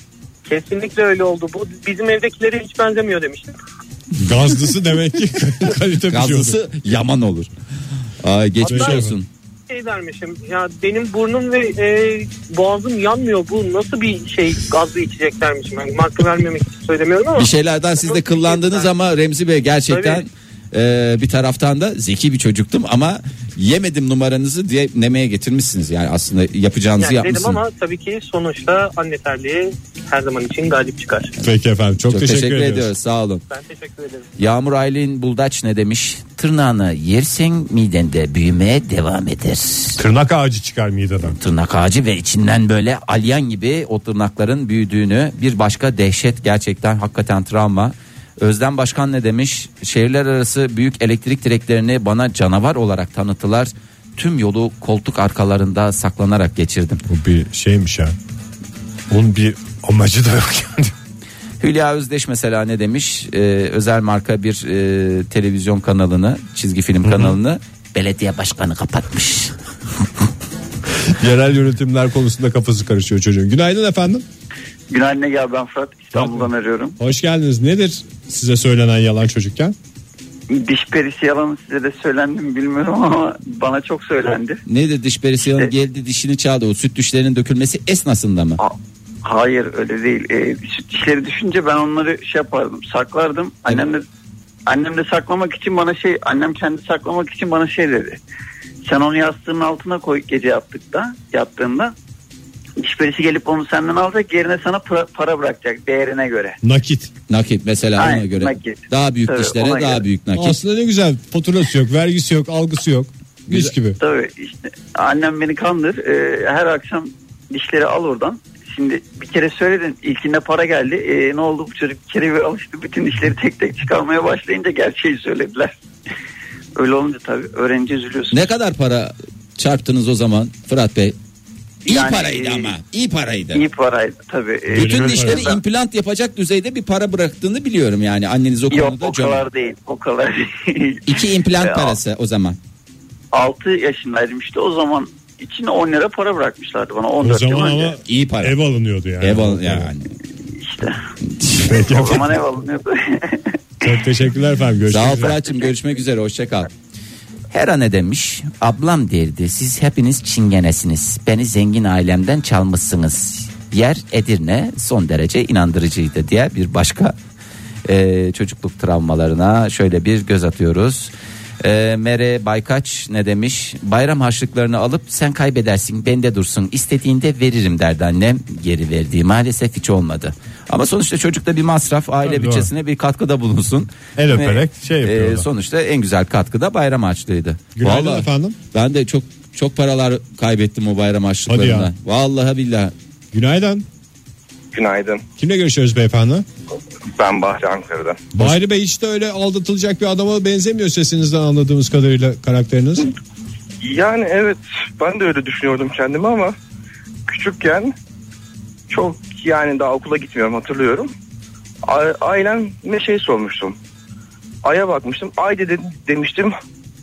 Speaker 4: Kesinlikle öyle oldu. Bu bizim evdekilere hiç benzemiyor demiştim.
Speaker 2: Gazlısı demek ki kalite bir şey oldu.
Speaker 3: Gazlısı yaman olur. Ay geçmiş
Speaker 2: Hatta-
Speaker 3: olsun.
Speaker 5: şey dermişim. Ya benim burnum ve e, boğazım yanmıyor. Bu nasıl bir şey gazlı içecek dermişim. Yani marka vermemek için söylemiyorum ama.
Speaker 3: Bir
Speaker 2: şey
Speaker 3: şeylerden siz de kıllandınız ama Remzi Bey gerçekten e, bir taraftan da zeki bir çocuktum ama yemedim numaranızı diye nemeye getirmişsiniz. Yani aslında yapacağınızı
Speaker 5: yani dedim
Speaker 3: yapmışsınız.
Speaker 5: ama tabii ki sonuçta anne terliği her zaman için galip çıkar.
Speaker 2: Peki efendim çok,
Speaker 3: Çok
Speaker 2: teşekkür,
Speaker 3: teşekkür,
Speaker 2: ediyoruz.
Speaker 3: ediyoruz. Sağ olun.
Speaker 5: Ben teşekkür ederim.
Speaker 3: Yağmur Aylin Buldaç ne demiş? Tırnağını yersen midende büyümeye devam eder.
Speaker 2: Tırnak ağacı çıkar mideden.
Speaker 3: Tırnak ağacı ve içinden böyle alyan gibi o tırnakların büyüdüğünü bir başka dehşet gerçekten hakikaten travma. Özlem Başkan ne demiş? Şehirler arası büyük elektrik direklerini bana canavar olarak tanıttılar. Tüm yolu koltuk arkalarında saklanarak geçirdim.
Speaker 2: Bu bir şeymiş ya. Bunun bir amacı da yok yani.
Speaker 3: Hülya Özdeş mesela ne demiş? Ee, özel marka bir e, televizyon kanalını, çizgi film kanalını belediye başkanı kapatmış.
Speaker 2: Yerel yönetimler konusunda kafası karışıyor çocuğun. Günaydın efendim.
Speaker 6: Günaydın Ege abi ben Fırat İstanbul'dan arıyorum.
Speaker 2: Hoş geldiniz. Nedir size söylenen yalan çocukken?
Speaker 6: Diş perisi yalanı size de söylendi mi bilmiyorum ama bana çok söylendi.
Speaker 3: Nedir diş perisi yalanı?
Speaker 6: İşte-
Speaker 3: geldi dişini çaldı o süt dişlerinin dökülmesi esnasında mı?
Speaker 6: A- Hayır öyle değil. Ee, süt dişleri düşünce ben onları şey yapardım saklardım. Annem de, annem de saklamak için bana şey annem kendi saklamak için bana şey dedi. Sen onu yastığının altına koy gece yattıkta yattığında diş perisi gelip onu senden alacak yerine sana pra- para bırakacak değerine göre.
Speaker 2: Nakit.
Speaker 3: Nakit mesela ona
Speaker 6: Aynen,
Speaker 3: göre
Speaker 6: nakit.
Speaker 3: daha büyük
Speaker 6: Tabii,
Speaker 3: dişlere
Speaker 6: ona
Speaker 3: daha
Speaker 6: göre.
Speaker 3: büyük nakit.
Speaker 2: Aslında ne güzel. Faturası yok, vergisi yok, algısı yok. Mis
Speaker 3: Güzel.
Speaker 2: gibi.
Speaker 6: Tabii işte annem beni kandır. Ee, her akşam dişleri al oradan. Şimdi bir kere söyledin ilkinde para geldi. Ee, ne oldu bu çocuk bir kere bir alıştı. Bütün dişleri tek tek çıkarmaya başlayınca gerçeği söylediler. Öyle olunca tabii öğrenci üzülüyorsun.
Speaker 3: Ne kadar para çarptınız o zaman Fırat Bey?
Speaker 6: Ee,
Speaker 3: İyi
Speaker 6: Yani,
Speaker 3: paraydı
Speaker 6: e,
Speaker 3: ama iyi paraydı.
Speaker 6: İyi paraydı tabii. Ee,
Speaker 2: Öyle
Speaker 3: Bütün
Speaker 2: mi?
Speaker 3: dişleri
Speaker 6: Ben-
Speaker 3: implant yapacak düzeyde bir para bıraktığını biliyorum yani anneniz o
Speaker 6: Yok
Speaker 3: konuda.
Speaker 6: o
Speaker 3: cömert.
Speaker 6: kadar değil E, o kadar değil.
Speaker 3: İki implant
Speaker 6: Ya.
Speaker 3: parası o zaman.
Speaker 6: 6 yaşındaydım işte o zaman içine 10 lira para bırakmışlardı bana
Speaker 2: O
Speaker 6: 14 yıl
Speaker 2: zaman
Speaker 6: önce.
Speaker 2: ama
Speaker 3: İyi para.
Speaker 2: ev alınıyordu yani.
Speaker 3: Ev al- yani.
Speaker 6: İşte o
Speaker 2: Peki efendim.
Speaker 6: zaman ev alınıyordu.
Speaker 2: Çok teşekkürler efendim. Görüşmek
Speaker 3: Sağ ol
Speaker 2: üzere.
Speaker 3: Fırat'cığım görüşmek üzere hoşça kal. Hera ne demiş? Ablam derdi siz hepiniz çingenesiniz. Beni zengin ailemden çalmışsınız. Yer Edirne son derece inandırıcıydı diye bir başka e, çocukluk travmalarına şöyle bir göz atıyoruz. E, Mere Baykaç ne demiş? Bayram harçlıklarını alıp sen kaybedersin bende dursun istediğinde veririm derdi annem. Geri verdiği maalesef hiç olmadı. Ama sonuçta çocukta bir masraf aile
Speaker 2: Tabii, doğru.
Speaker 3: bütçesine bir katkıda bulunsun. E,
Speaker 2: El öperek şey yapıyorlar.
Speaker 3: sonuçta en güzel katkıda bayram harçlığıydı.
Speaker 2: Günaydın efendim.
Speaker 3: Ben de çok çok paralar kaybettim o bayram
Speaker 2: Hadi
Speaker 3: harçlıklarında.
Speaker 2: ya.
Speaker 3: Vallahi billahi.
Speaker 2: Günaydın.
Speaker 7: Günaydın.
Speaker 2: Kimle görüşüyoruz beyefendi?
Speaker 7: Ben Bahri Ankara'dan.
Speaker 2: Bahri Bey hiç de öyle aldatılacak bir adama benzemiyor sesinizden anladığımız kadarıyla karakteriniz.
Speaker 7: Yani evet ben de öyle düşünüyordum kendimi ama küçükken çok yani daha okula gitmiyorum hatırlıyorum. A- Aileme şey sormuştum. Ay'a bakmıştım. Ay dedi, demiştim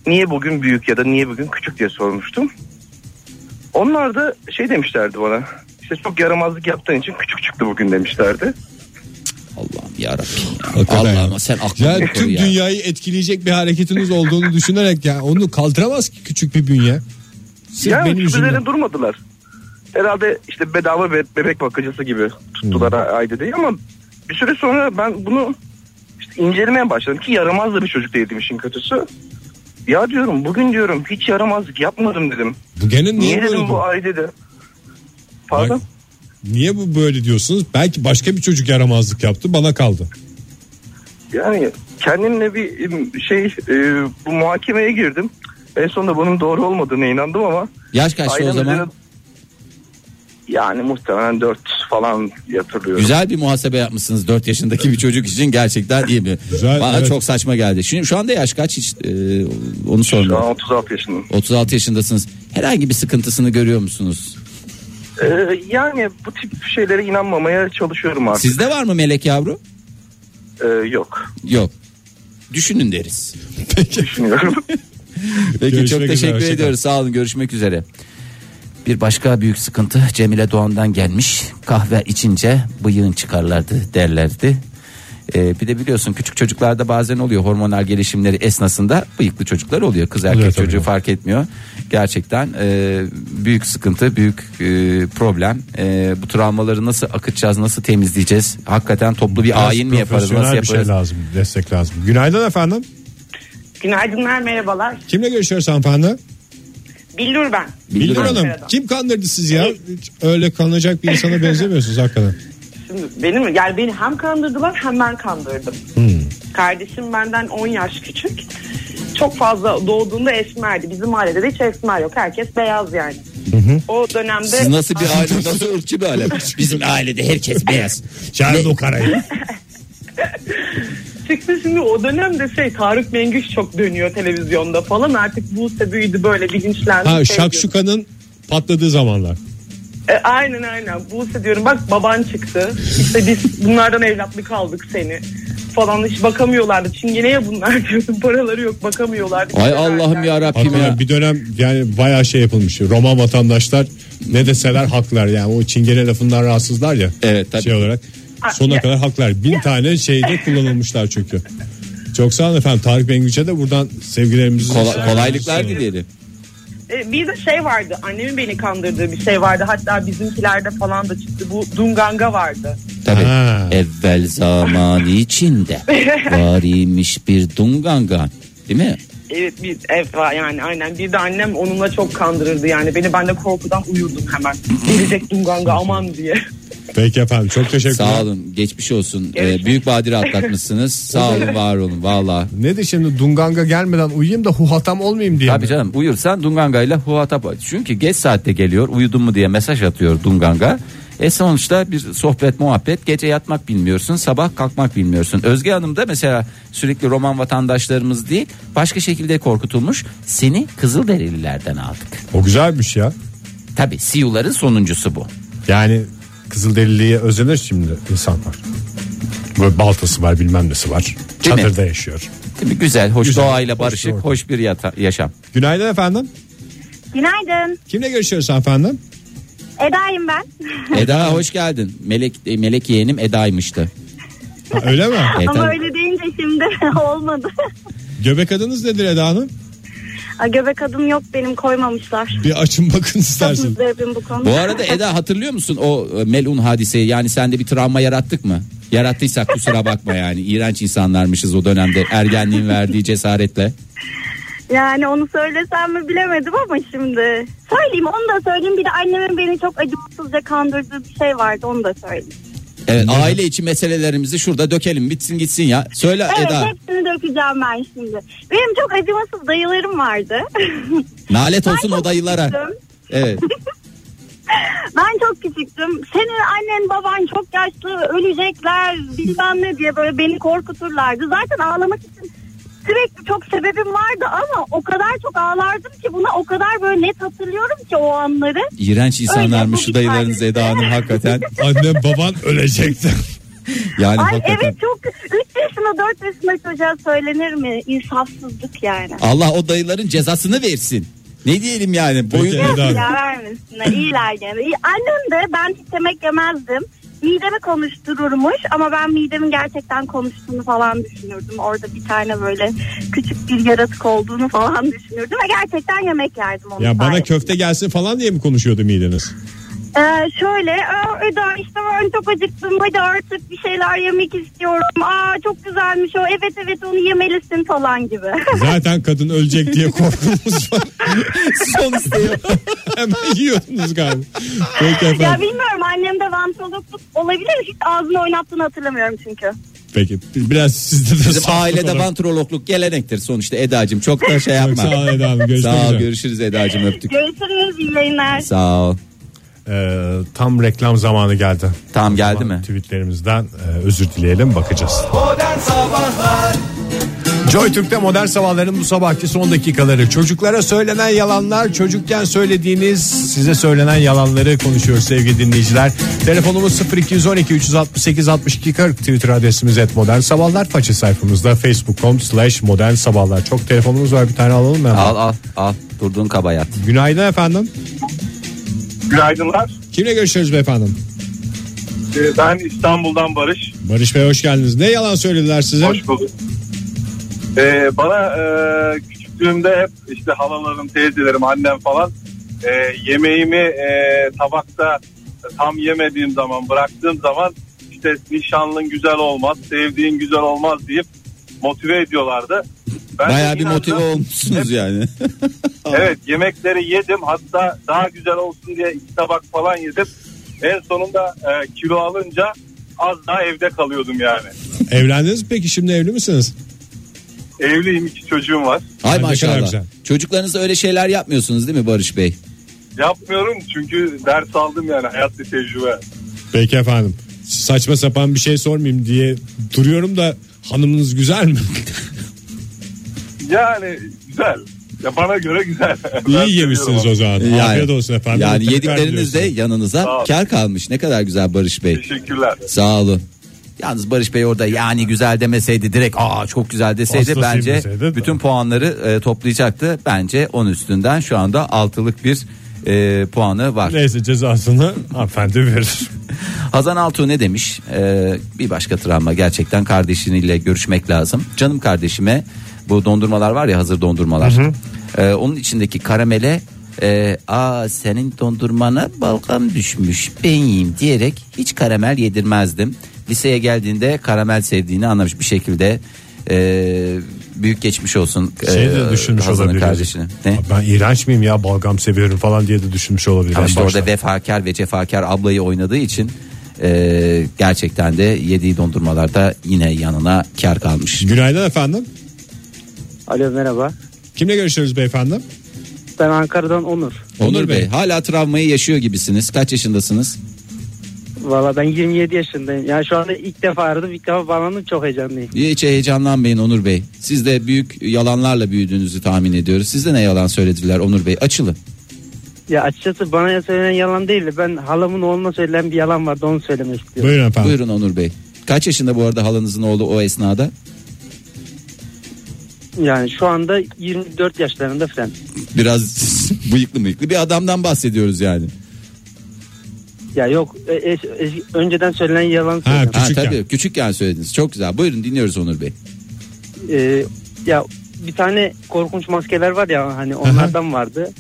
Speaker 7: niye bugün büyük ya da niye bugün küçük diye sormuştum. Onlar da şey demişlerdi bana. İşte çok yaramazlık yaptığın için küçük çıktı bugün demişlerdi.
Speaker 3: Allah'ım yarabbim ya.
Speaker 2: Hakikaten.
Speaker 3: Allah'ım sen aklını
Speaker 2: Ya
Speaker 3: koru
Speaker 2: tüm
Speaker 3: ya.
Speaker 2: dünyayı etkileyecek bir hareketiniz olduğunu düşünerek ya onu kaldıramaz ki küçük bir bünye. Sırf
Speaker 7: yani
Speaker 2: benim
Speaker 7: benim
Speaker 2: yüzümden.
Speaker 7: durmadılar. Herhalde işte bedava be- bebek bakıcısı gibi tuttular
Speaker 2: Hmm.
Speaker 7: ayda değil ama bir süre sonra ben bunu işte incelemeye başladım ki yaramaz da bir çocuk değildim işin kötüsü. Ya diyorum bugün diyorum hiç yaramazlık yapmadım dedim.
Speaker 2: Bu gene niye
Speaker 7: Niye
Speaker 2: böyle?
Speaker 7: dedim
Speaker 2: bu?
Speaker 7: bu ay dedi. Pardon.
Speaker 2: Niye bu böyle diyorsunuz? Belki başka bir çocuk yaramazlık yaptı bana kaldı.
Speaker 7: Yani kendimle bir im, şey e, bu muhakemeye girdim. En sonunda bunun doğru olmadığına inandım ama
Speaker 3: Yaş kaçtı o
Speaker 7: ailem
Speaker 3: zaman?
Speaker 7: üzerine- yani muhtemelen 4 falan yatırıyorum.
Speaker 3: Güzel bir muhasebe yapmışsınız 4 yaşındaki bir çocuk için gerçekten iyi mi?
Speaker 2: Güzel,
Speaker 3: Bana
Speaker 2: evet.
Speaker 3: çok saçma geldi. Şimdi şu anda yaş kaç hiç e, onu
Speaker 7: Şu an
Speaker 3: sormuyorum.
Speaker 7: 36 yaşındayım.
Speaker 3: 36 yaşındasınız. Herhangi bir sıkıntısını görüyor musunuz?
Speaker 7: Ee, yani bu tip şeylere inanmamaya çalışıyorum artık.
Speaker 3: Sizde var mı melek yavru?
Speaker 7: Ee, yok.
Speaker 3: Yok. Düşünün deriz.
Speaker 7: Düşünüyorum.
Speaker 3: Peki
Speaker 2: Görüşmek
Speaker 3: çok
Speaker 2: üzere,
Speaker 3: teşekkür
Speaker 2: hoşça kal.
Speaker 3: ediyoruz. Sağ olun. Görüşmek üzere. Bir başka büyük sıkıntı Cemile Doğan'dan gelmiş. Kahve içince bıyığın çıkarlardı derlerdi. Ee, bir de biliyorsun küçük çocuklarda bazen oluyor hormonal gelişimleri esnasında bıyıklı çocuklar oluyor. Kız erkek
Speaker 2: Oluyor tabii.
Speaker 3: çocuğu fark etmiyor. Gerçekten e, büyük sıkıntı, büyük e, problem. E, bu travmaları nasıl akıtacağız, nasıl temizleyeceğiz? Hakikaten toplu bir
Speaker 2: Biraz
Speaker 3: ayin mi yaparız,
Speaker 2: profesyonel
Speaker 3: nasıl
Speaker 2: bir şey
Speaker 3: yaparız?
Speaker 2: lazım, destek lazım. Günaydın efendim.
Speaker 8: Günaydınlar merhabalar.
Speaker 2: Kimle görüşüyoruz hanımefendi?
Speaker 8: Billur ben.
Speaker 2: Bildir
Speaker 3: Hanım.
Speaker 2: Hanım. Kim kandırdı sizi ya? Hiç öyle kanılacak bir insana benzemiyorsunuz hakikaten.
Speaker 8: Şimdi benim yani beni hem kandırdılar hem ben kandırdım.
Speaker 2: Hmm.
Speaker 8: Kardeşim benden 10 yaş küçük. Çok fazla doğduğunda esmerdi. Bizim ailede de hiç esmer yok. Herkes beyaz yani. O dönemde
Speaker 3: Siz nasıl bir aile, nasıl ırkçı bir aile? Bizim ailede herkes beyaz.
Speaker 2: Çağırın o karayı.
Speaker 8: çıktı şimdi o dönemde şey Tarık Mengüş çok dönüyor televizyonda falan artık bu büyüdü böyle bilinçlendi.
Speaker 2: Ha
Speaker 8: Şey diyorum.
Speaker 2: şakşukanın patladığı zamanlar.
Speaker 8: E, aynen aynen. Buse diyorum bak baban çıktı. İşte biz bunlardan evlatlık aldık seni falan hiç bakamıyorlardı. Çingeneye bunlar diyordum. Paraları yok bakamıyorlardı.
Speaker 3: Ay Allah'ım ya Rabbim
Speaker 2: Hakikaten
Speaker 3: ya.
Speaker 2: bir dönem yani bayağı şey yapılmış. Roma vatandaşlar ne deseler haklar yani o çingene lafından rahatsızlar ya.
Speaker 3: Evet, tabii.
Speaker 2: Şey olarak sona
Speaker 8: ya-
Speaker 2: kadar haklar. Bin tane şeyde kullanılmışlar çünkü. Çok sağ olun efendim. Tarık Bengüç'e de buradan sevgilerimizi
Speaker 3: Kola- kolaylıklar dileyelim.
Speaker 8: E, bir de şey vardı. Annemin beni kandırdığı bir şey vardı. Hatta bizimkilerde falan da çıktı. Bu Dunganga vardı.
Speaker 3: Tabii.
Speaker 2: Ha.
Speaker 3: Evvel zaman içinde var imiş bir dungangan. Değil mi?
Speaker 8: Evet bir ev var yani aynen. Bir de annem onunla çok kandırırdı yani. Beni ben de korkudan uyurdum hemen. Gelecek Dunganga aman diye.
Speaker 2: Peki efendim çok teşekkürler.
Speaker 3: Sağ olun. Geçmiş olsun. Ee,
Speaker 8: Görüşmek
Speaker 3: büyük badire atlatmışsınız. Sağ olun, var olun. Valla.
Speaker 2: Ne de şimdi Dunganga gelmeden uyuyayım da huhatam olmayayım diye.
Speaker 3: Tabii canım uyursan Dunganga ile huhatap. Çünkü geç saatte geliyor. Uyudun mu diye mesaj atıyor Dunganga. E sonuçta bir sohbet muhabbet gece yatmak bilmiyorsun sabah kalkmak bilmiyorsun. Özge Hanım da mesela sürekli Roman vatandaşlarımız değil başka şekilde korkutulmuş seni Kızılderililerden aldık.
Speaker 2: O güzelmiş ya.
Speaker 3: Tabi Siyuların sonuncusu bu.
Speaker 2: Yani Kızılderili'ye özenir şimdi insanlar. Böyle baltası var bilmem nesi var.
Speaker 3: Değil mi?
Speaker 2: Çadırda yaşıyor.
Speaker 3: Değil mi? Güzel, hoş
Speaker 2: Güzel,
Speaker 3: doğayla
Speaker 2: hoş
Speaker 3: barışık,
Speaker 2: doğru.
Speaker 3: hoş bir yata- yaşam.
Speaker 2: Günaydın efendim.
Speaker 9: Günaydın.
Speaker 2: Kimle görüşüyoruz efendim?
Speaker 9: Eda'yım ben.
Speaker 3: Eda hoş geldin. Melek e, Melek yeğenim Eda'ymıştı.
Speaker 2: Ha, öyle mi?
Speaker 3: E,
Speaker 9: Ama
Speaker 3: tabii.
Speaker 9: öyle deyince şimdi olmadı.
Speaker 2: Göbek adınız nedir Eda Hanım?
Speaker 9: Aa, Göbek adım yok benim koymamışlar.
Speaker 2: Bir açın bakın
Speaker 9: Çok
Speaker 2: istersen.
Speaker 9: muzdaribim bu konuda.
Speaker 3: Bu arada Eda hatırlıyor musun o e, melun hadiseyi? Yani sende bir travma yarattık mı? Yarattıysak kusura bakma yani. İğrenç insanlarmışız o dönemde ergenliğin verdiği cesaretle.
Speaker 9: Yani onu söylesem mi bilemedim ama şimdi. Söyleyeyim onu da söyleyeyim. Bir de annemin beni çok acımasızca kandırdığı bir şey vardı onu da söyleyeyim.
Speaker 3: Evet aile içi meselelerimizi şurada dökelim bitsin gitsin ya. Söyle
Speaker 9: Evet
Speaker 3: Eda.
Speaker 9: hepsini dökeceğim ben şimdi. Benim çok acımasız dayılarım vardı.
Speaker 3: Nalet
Speaker 9: Ben
Speaker 3: olsun
Speaker 9: çok
Speaker 3: o dayılara.
Speaker 9: küçüktüm.
Speaker 3: Evet.
Speaker 9: Ben çok küçüktüm. Senin annen baban çok yaşlı ölecekler bilmem ne diye böyle beni korkuturlardı. Zaten ağlamak için sürekli çok sebebim vardı ama o kadar çok ağlardım ki buna o kadar böyle net hatırlıyorum ki o anları.
Speaker 3: İğrenç insanlarmış
Speaker 9: bu
Speaker 3: şu
Speaker 9: bir
Speaker 3: dayılarınız
Speaker 9: tanesi.
Speaker 3: Eda Hanım hakikaten.
Speaker 2: Annem baban ölecekti.
Speaker 3: Yani
Speaker 9: Ay
Speaker 3: hakikaten.
Speaker 9: evet çok 3 yaşında 4 yaşında çocuğa söylenir mi? İnsafsızlık yani.
Speaker 3: Allah o dayıların cezasını versin. Ne diyelim yani?
Speaker 2: Peki
Speaker 3: Boyun
Speaker 2: Eda Hanım.
Speaker 9: Ya vermesinler iyiler gene. İyi- Annem de ben hiç yemek yemezdim. Midemi konuştururmuş ama ben midemin gerçekten konuştuğunu falan düşünürdüm. Orada bir tane böyle küçük bir yaratık olduğunu falan düşünürdüm ve gerçekten yemek yerdim onun
Speaker 2: Ya bana
Speaker 9: sayesinde.
Speaker 2: köfte gelsin falan diye mi konuşuyordu mideniz?
Speaker 9: Ee, şöyle "Aa, Eda işte ben çok acıktım hadi artık bir şeyler yemek istiyorum. Aa çok güzelmiş o evet evet onu yemelisin falan gibi.
Speaker 2: Zaten kadın ölecek diye korkumuz var.
Speaker 3: son isteği.
Speaker 2: Hemen yiyordunuz galiba. Peki
Speaker 9: ya
Speaker 2: efendim.
Speaker 9: bilmiyorum annemde vantolokluk olabilir hiç ağzını oynattığını hatırlamıyorum çünkü.
Speaker 2: Peki biraz sizde de
Speaker 3: Bizim
Speaker 2: saflık
Speaker 3: ailede
Speaker 2: olarak-
Speaker 3: vantrolokluk gelenektir sonuçta Eda'cığım. Çok da şey
Speaker 2: Çok
Speaker 3: yapma.
Speaker 2: Sağ ol Eda Hanım. Görüşmek
Speaker 3: Sağ ol
Speaker 2: üzere.
Speaker 3: görüşürüz Eda'cığım öptük.
Speaker 9: Görüşürüz iyi yayınlar.
Speaker 3: Sağ ol.
Speaker 2: Ee, tam reklam zamanı geldi.
Speaker 3: Tamam, geldi
Speaker 2: Zaman
Speaker 3: mi?
Speaker 2: Tweetlerimizden e, özür dileyelim bakacağız. Joy Türk'te modern sabahların bu sabahki son dakikaları. Çocuklara söylenen yalanlar, çocukken söylediğiniz size söylenen yalanları konuşuyoruz sevgili dinleyiciler. Telefonumuz 0212 368 62 40 Twitter adresimiz et modern sabahlar. Faça sayfamızda facebook.com slash modern sabahlar. Çok telefonumuz var bir tane alalım mı? hemen?
Speaker 3: Al al al durduğun kabayat.
Speaker 2: Günaydın efendim.
Speaker 7: Günaydınlar.
Speaker 2: Kimle görüşüyoruz beyefendim?
Speaker 10: Ee, Ben İstanbul'dan Barış.
Speaker 2: Barış Bey hoş geldiniz. Ne yalan söylediler size?
Speaker 10: Hoş bulduk. Ee, bana e, küçüklüğümde hep işte halalarım, teyzelerim, annem falan e, yemeğimi e, tabakta tam yemediğim zaman, bıraktığım zaman işte nişanlın güzel olmaz, sevdiğin güzel olmaz deyip motive ediyorlardı. Ben de
Speaker 3: Bayağı bir
Speaker 10: inandım.
Speaker 3: motive olmuşsunuz yani.
Speaker 10: Evet yemekleri yedim hatta daha güzel olsun diye iki tabak falan yedim. En sonunda e, kilo alınca az daha evde kalıyordum yani.
Speaker 2: Evlendiniz mi peki şimdi evli misiniz?
Speaker 10: Evliyim iki çocuğum var.
Speaker 3: Ay
Speaker 2: ne kadar
Speaker 3: maşallah.
Speaker 2: güzel.
Speaker 3: Çocuklarınızla öyle şeyler yapmıyorsunuz değil mi Barış Bey?
Speaker 10: Yapmıyorum çünkü ders aldım yani hayat bir tecrübe.
Speaker 2: Peki efendim. Saçma sapan bir şey sormayayım diye duruyorum da hanımınız güzel mi?
Speaker 10: Yani güzel. Ya bana göre güzel. Ben
Speaker 2: İyi
Speaker 10: seviyorum
Speaker 2: yemişsiniz
Speaker 10: onu.
Speaker 2: o zaman.
Speaker 3: Yani-
Speaker 2: Afiyet olsun efendim.
Speaker 3: Yani
Speaker 2: Tekrar
Speaker 3: yedikleriniz de
Speaker 2: diyorsun.
Speaker 3: yanınıza
Speaker 10: Sağ ol.
Speaker 3: kar kalmış. Ne kadar güzel Barış Bey.
Speaker 10: Teşekkürler.
Speaker 3: Sağ olun. Yalnız Barış Bey orada yani güzel demeseydi direkt aa çok güzel deseydi
Speaker 2: Hastasıyım
Speaker 3: bence
Speaker 2: deseydi de.
Speaker 3: bütün puanları e, toplayacaktı. Bence 10 üstünden şu anda 6'lık bir e, puanı var.
Speaker 2: Neyse cezasını hanımefendi verir.
Speaker 3: Hazan Altuğ ne demiş? Ee, bir başka travma gerçekten kardeşiniyle görüşmek lazım. Canım kardeşime bu dondurmalar var ya hazır dondurmalar. Ee, onun içindeki karamele e, aa senin dondurmana balgam düşmüş ben yiyeyim diyerek hiç karamel yedirmezdim. Liseye geldiğinde karamel sevdiğini anlamış bir şekilde. e, büyük geçmiş olsun.
Speaker 2: Şey de
Speaker 3: e,
Speaker 2: düşünmüş
Speaker 3: Hazan'ın
Speaker 2: olabilir.
Speaker 3: kardeşini. Ne?
Speaker 2: Ben iğrenç miyim ya balgam seviyorum falan diye de düşünmüş olabilir.
Speaker 3: Ama
Speaker 2: en
Speaker 3: işte
Speaker 2: başta.
Speaker 3: orada vefakar ve cefakar ablayı oynadığı için e, gerçekten de yediği dondurmalarda yine yanına kar kalmış.
Speaker 2: Günaydın efendim.
Speaker 5: Alo merhaba.
Speaker 2: Kimle görüşüyoruz beyefendi?
Speaker 5: Ben Ankara'dan Onur.
Speaker 3: Onur Bey hala travmayı yaşıyor gibisiniz. Kaç yaşındasınız?
Speaker 5: Valla ben 27 yaşındayım. Yani şu anda ilk defa aradım. ilk defa bağlandım. Çok heyecanlıyım.
Speaker 3: Hiç heyecanlanmayın Onur Bey. Siz de büyük yalanlarla büyüdüğünüzü tahmin ediyoruz. Siz de ne yalan söylediler Onur Bey? Açılın.
Speaker 5: Ya açıkçası bana ya söylenen yalan değil de ben halamın oğluna söylenen bir yalan vardı onu söylemek istiyorum.
Speaker 2: Buyurun efendim.
Speaker 3: Buyurun Onur Bey. Kaç yaşında bu arada halanızın oğlu o esnada?
Speaker 5: Yani şu anda 24 yaşlarında falan.
Speaker 3: Biraz bıyıklı mıyıklı bir adamdan bahsediyoruz yani.
Speaker 5: Ya yok e- e- e- önceden söylenen yalan
Speaker 2: Ha,
Speaker 5: söyledim.
Speaker 3: Ha,
Speaker 2: Küçükken.
Speaker 3: tabii küçükken söylediniz. Çok güzel. Buyurun dinliyoruz Onur Bey.
Speaker 5: Ee, ya bir tane korkunç maskeler var ya hani onlardan vardı.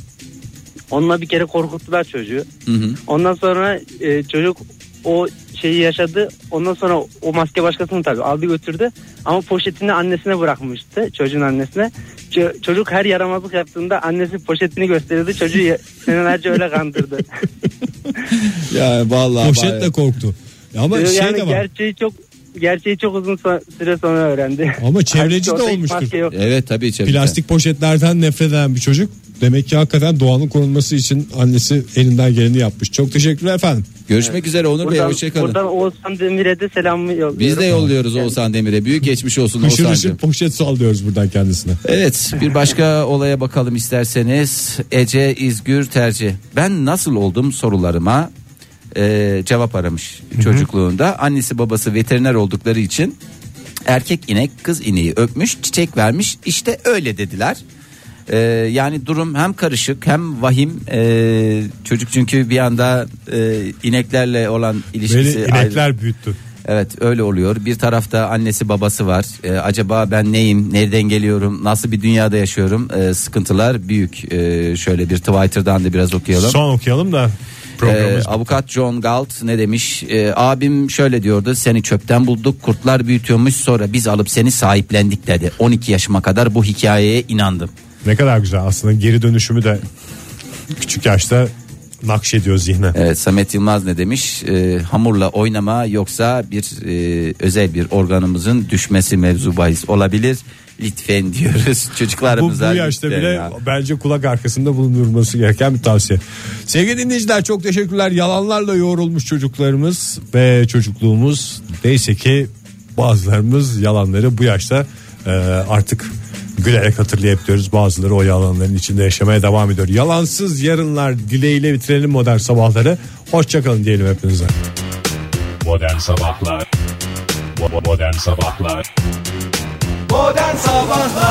Speaker 5: Onunla bir kere korkuttular çocuğu.
Speaker 3: Hı hı.
Speaker 5: Ondan sonra e, çocuk o şeyi yaşadı. Ondan sonra o maske başkasını tabii aldı götürdü. Ama poşetini annesine bırakmıştı. Çocuğun annesine. Ço- çocuk her yaramazlık yaptığında annesi poşetini gösterirdi. Çocuğu ya- senelerce öyle kandırdı.
Speaker 3: Ya vallahi Ee,
Speaker 2: Poşetle korktu. Ama
Speaker 5: yani
Speaker 2: şey de var.
Speaker 5: gerçeği çok gerçeği çok uzun so- süre sonra öğrendi.
Speaker 2: Ama çevreci
Speaker 5: Halbuki
Speaker 2: de
Speaker 5: orada hiç
Speaker 2: olmuştur.
Speaker 5: maske yok.
Speaker 3: Evet tabii içeride.
Speaker 2: Plastik poşetlerden nefret eden bir çocuk. Demek ki hakikaten doğanın korunması için annesi elinden geleni yapmış. Çok teşekkürler efendim.
Speaker 3: Görüşmek üzere Onur Bey
Speaker 5: Buradan,
Speaker 3: hoşçakalın.
Speaker 5: buradan Oğuzhan Demir'e de selamımı yolluyorum.
Speaker 3: Biz de yolluyoruz Oğuzhan Demir'e. Büyük geçmiş olsun
Speaker 2: Hışır hışır
Speaker 3: Oğuzhan'cığım.
Speaker 2: poşet sallıyoruz buradan kendisine.
Speaker 3: Evet bir başka olaya bakalım isterseniz. Ece İzgür Tercih. Ben nasıl oldum sorularıma e, cevap aramış çocukluğunda. Annesi babası veteriner oldukları için erkek inek kız ineği öpmüş çiçek vermiş işte öyle dediler. E, yani durum hem karışık hem vahim E, çocuk çünkü bir anda e, ineklerle olan
Speaker 2: Beni
Speaker 3: ilişkisi Ee, ayrı-
Speaker 2: inekler büyüttü.
Speaker 3: Evet öyle oluyor. Bir tarafta annesi babası var. Ee, acaba ben neyim? Nereden geliyorum? Nasıl bir dünyada yaşıyorum? Ee, sıkıntılar büyük. Ee, şöyle bir Twitter'dan da biraz okuyalım.
Speaker 2: Son okuyalım da
Speaker 3: Ee,
Speaker 2: programımız.
Speaker 3: avukat John Galt ne demiş? Ee, abim şöyle diyordu. Seni çöpten bulduk. Kurtlar büyütüyormuş. Sonra biz alıp seni sahiplendik dedi. 12 yaşıma kadar bu hikayeye inandım.
Speaker 2: ne kadar güzel aslında geri dönüşümü de küçük yaşta nakşediyor zihne.
Speaker 3: Evet Samet Yılmaz ne demiş? Ee, hamurla oynama yoksa bir e, özel bir organımızın düşmesi mevzu bahis olabilir. Lütfen diyoruz
Speaker 2: Bu, bu
Speaker 3: çocuklarımıza.
Speaker 2: yaşta
Speaker 3: lütfen
Speaker 2: bile
Speaker 3: ya.
Speaker 2: bence kulak arkasında bulundurması gereken bir tavsiye. Sevgili dinleyiciler çok teşekkürler. Yalanlarla yoğrulmuş çocuklarımız ve çocukluğumuz. Neyse ki bazılarımız yalanları bu yaşta e, artık gülerek hatırlayabiliyoruz. Bazıları o yalanların içinde yaşamaya devam ediyor. Yalansız yarınlar dileğiyle bitirelim modern sabahları. Hoşçakalın diyelim hepinize.
Speaker 8: Modern Sabahlar Bo- Modern Sabahlar
Speaker 11: Modern Sabahlar